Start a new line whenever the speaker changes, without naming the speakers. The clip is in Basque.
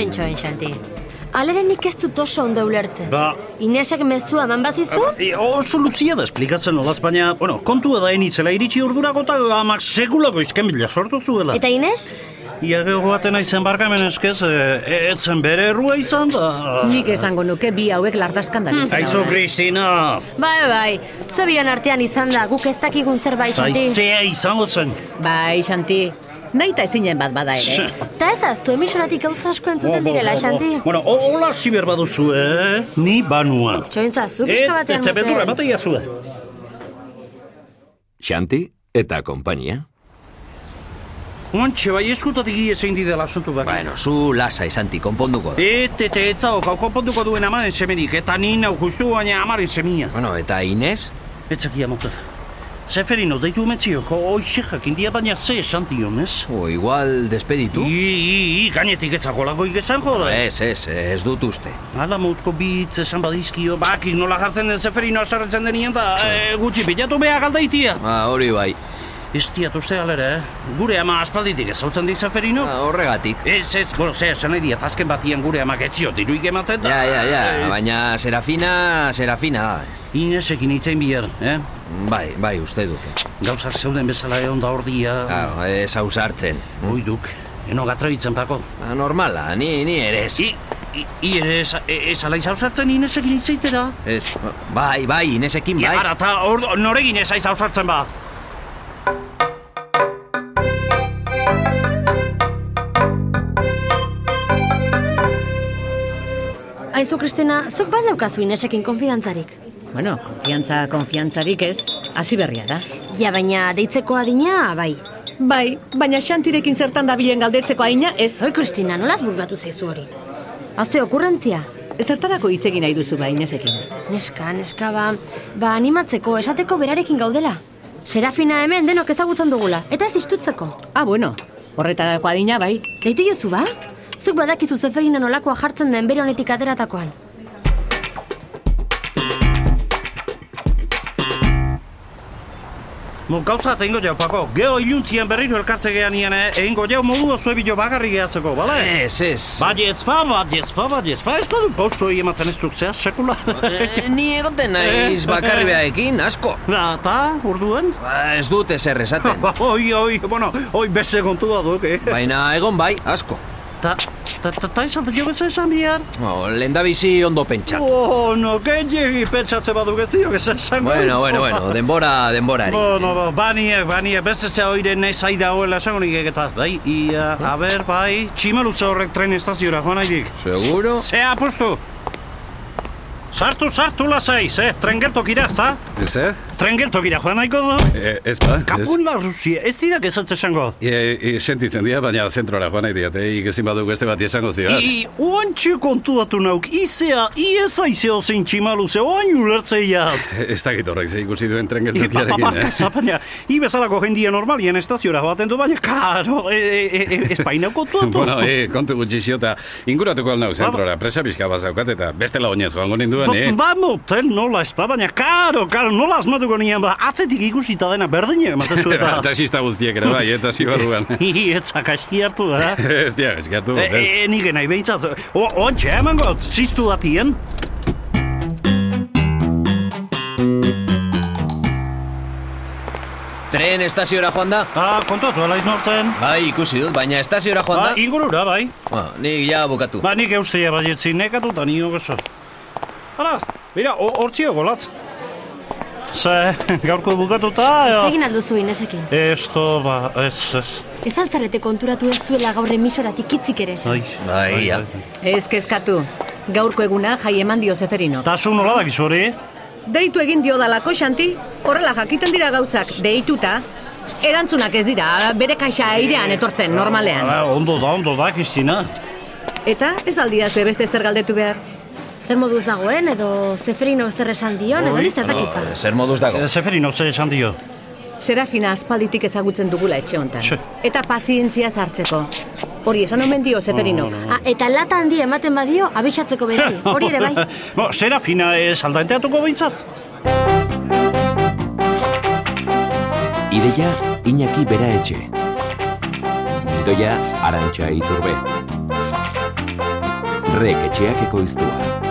itxoin, Xanti. Alere nik ez dut oso ondo ulertzen.
Ba.
Inesak mezua eman bazizu?
E, oso luzia da esplikatzen olaz, baina, bueno, kontua da enitzela iritsi ordurako eta amak sekulako izkenbila sortu zuela.
Eta Ines?
Ia geho baten aizen barkamen eskez, e, etzen bere errua izan da.
Nik esango nuke bi hauek lardazkan
Hmm.
dabiltza.
Aizu, Kristina,
Bai, bai. Zebion artean izan da, guk ez dakigun zerbait,
Bai,
Xanti.
zaizea izango zen.
Bai, Xanti, nahi ta ezinen bat bada ere.
Eta ez aztu emisoratik gauza asko entzuten direla, Xanti.
Bueno, o- hola ziber baduzu, eh? Ni banua.
Txoin zazu,
Eh,
pixka batean
Eta bedura,
duten.
bate iazue.
Xanti eta konpainia.
Ontxe, bai eskutatik iezein didela asuntu bat.
Bueno, zu lasa Santi, konponduko da.
Et, eta etzao, gau konponduko duen amaren semerik, eta ni nau justu baina amaren semia.
Bueno, eta Inez?
Etzakia motot. Zeferino, deitu metzioko, oixe jakin dia baina ze esan dion, ez?
O, igual despeditu?
I, i, i, gainetik etzako lago ikizan joda.
Ez, ez, ez dut uste.
Hala mauzko bi hitz esan badizkio, bakik nola jartzen den Zeferino azarretzen denien da, e, gutxi bilatu beha galdaitia.
Ba, hori bai.
Iztiat uste alere, eh? Gure ama aspalditik ezautzen dit Zeferino?
Ba, horregatik.
Ez, ez, bueno, ze, esan nahi diat, azken batian gure amak etzio diruik ematen da. Eh,
Ja, ja, ja, baina Serafina, Serafina da.
Inesekin itzain bihar, eh?
Bai, bai, uste dut.
Gauzak zeuden bezala egon da hor dia.
Claro, ez ausartzen.
Oiduk, eno gatrabitzen pako.
Ba, Normala, ni, ni ere ez.
I, i, i ere ez, ez alaiz hausartzen Inesekin itzaitera.
Ez, bai, bai, Inesekin
Bai.
bai.
Ara, eta hor, noregin ez aiz hausartzen ba.
Aizu, Kristina, zuk bat daukazu Inesekin konfidantzarik.
Bueno, konfiantza, konfiantzarik ez, hasi berria da.
Ja, baina deitzeko adina, bai.
Bai, baina Xantirekin zertan dabilen galdetzeko aina ez.
Oi, Kristina, nolaz bururatu zaizu hori? Azte okurrentzia.
Zertarako hitz egin nahi duzu bai Inesekin.
Neska, neska, ba, ba animatzeko, esateko berarekin gaudela. Serafina hemen denok ezagutzen dugula, eta ez istutzeko.
Ah, bueno, horretarako adina bai.
Deitu jozu, ba? Zuk badakizu Zeferina nolakoa jartzen den bere honetik ateratakoan.
Mo, gauza eta ingo jau, pako. Geo iluntzien berriro elkartzegean nien, eh? Eingo jau modu oso ebilo bagarri gehatzeko, bale?
Ez, ez.
Bai, ez ba, bai, ez ba, bai, ez ba, ez badu pauso ematen ez duk zehaz, sekula.
Eh, Ni egoten naiz bakarri behaekin, asko.
Na, eta, orduen?
Ba, ez dut ezer esaten.
Ba, Oi, oi, bueno, oi beste kontua duk, eh?
Baina egon bai, asko.
Ta, ta, ta, ta izan, jo bezan esan bihar.
Oh, Lendabizi ondo pentsatu.
Oh, no, gehiagi pentsatze baduk ez dio bezan esan.
Bueno, bueno, bueno, denbora, denborari.
Bueno, ba, baniek, baniek, beste ze oire nahi zai dagoela esango nikek eta, bai, ia, a ber, bai, tximelutze horrek tren estaziora joan nahi dik.
Seguro?
Ze apustu! Sartu, sartu lasai, ze, tren geltokira, za?
Zer?
Tren geltokira joan nahiko du?
E, ez ba, ez.
Kapula Rusia, ez dira gezatze esango.
E, e, sentitzen dira, baina zentrora joan nahi diat, eh? Ikezin baduk beste bat esango zidan.
I, oantxe kontuatu nauk, izea, ieza izeo zein tximaluze, oain ulertzeiat.
Ez dakit horrek ze ikusi duen tren
Papapapa,
geltokiarekin, eh?
kazapaina, ibezalako jendia normalien estaziora joaten du, baina, karo, e, e, e, espaina kontuatu.
Bueno, e, kontu gutxi xota, inguratuko alnau zentrora, presa pixka bat zaukat eta bestela oinez joango ninduen, eh?
Ba, motel nola ez, ba, baina, karo, karo, nola asmatuko nian, ba, atzetik ikusita dena berdine, ematezu
Ba,
Eta
eta...
Taxista guztiek ere bai, eta zibarruan.
Hi, etzak aski hartu da.
ez dia, eskatu.
E,
hotel.
e, nik nahi behitzat, O- ontxe eh, emango, ziztu datien.
Tren estaziora joan da?
Ah, kontatu, alaiz nortzen.
Bai, ikusi dut, baina estaziora joan
Ba,
da?
ingurura, bai.
Ba, nik ja bukatu.
Ba, nik eustea baietzi nekatuta nio gozo. Hala, bera, ho- hortzio golatz. Ze, gaurko bukatuta,
Zegin alduzu Inesekin.
Esto, ba, ez, ez.
Ez altzarete konturatu ez duela gaur emisoratik hitzik ere esan.
Ai,
Bai,
ai,
ja.
ai.
Ez kezkatu. Gaurko eguna jai eman dio Zeferino.
Ta zu nola dakiz hori?
Deitu egin dio dalako, Xanti, horrela jakiten dira gauzak, deituta. Erantzunak ez dira, bere kaxa airean etortzen, normalean.
Hala, ondo da, ondo da, Kristina.
Eta ez aldiazue beste zer galdetu behar.
Zer moduz dagoen, edo Zeferino zer esan dion, edo
Oi,
niz dakit ba.
Eh, Zer moduz dago?
Eh, Zeferino, ze esan dio.
Serafina aspalditik ezagutzen dugula etxe hontan.
Txe.
Eta pazientzia hartzeko. Hori esan omen dio Zeferino.
Ah, eta lata handi ematen badio, abisatzeko beti, hori ere bai.
Bo, Serafina ez aldaenteatuko behintzat.
Ideia Iñaki Bera Etxe. Gidoia Arantxa Iturbe.
Rek etxeak ekoiztua.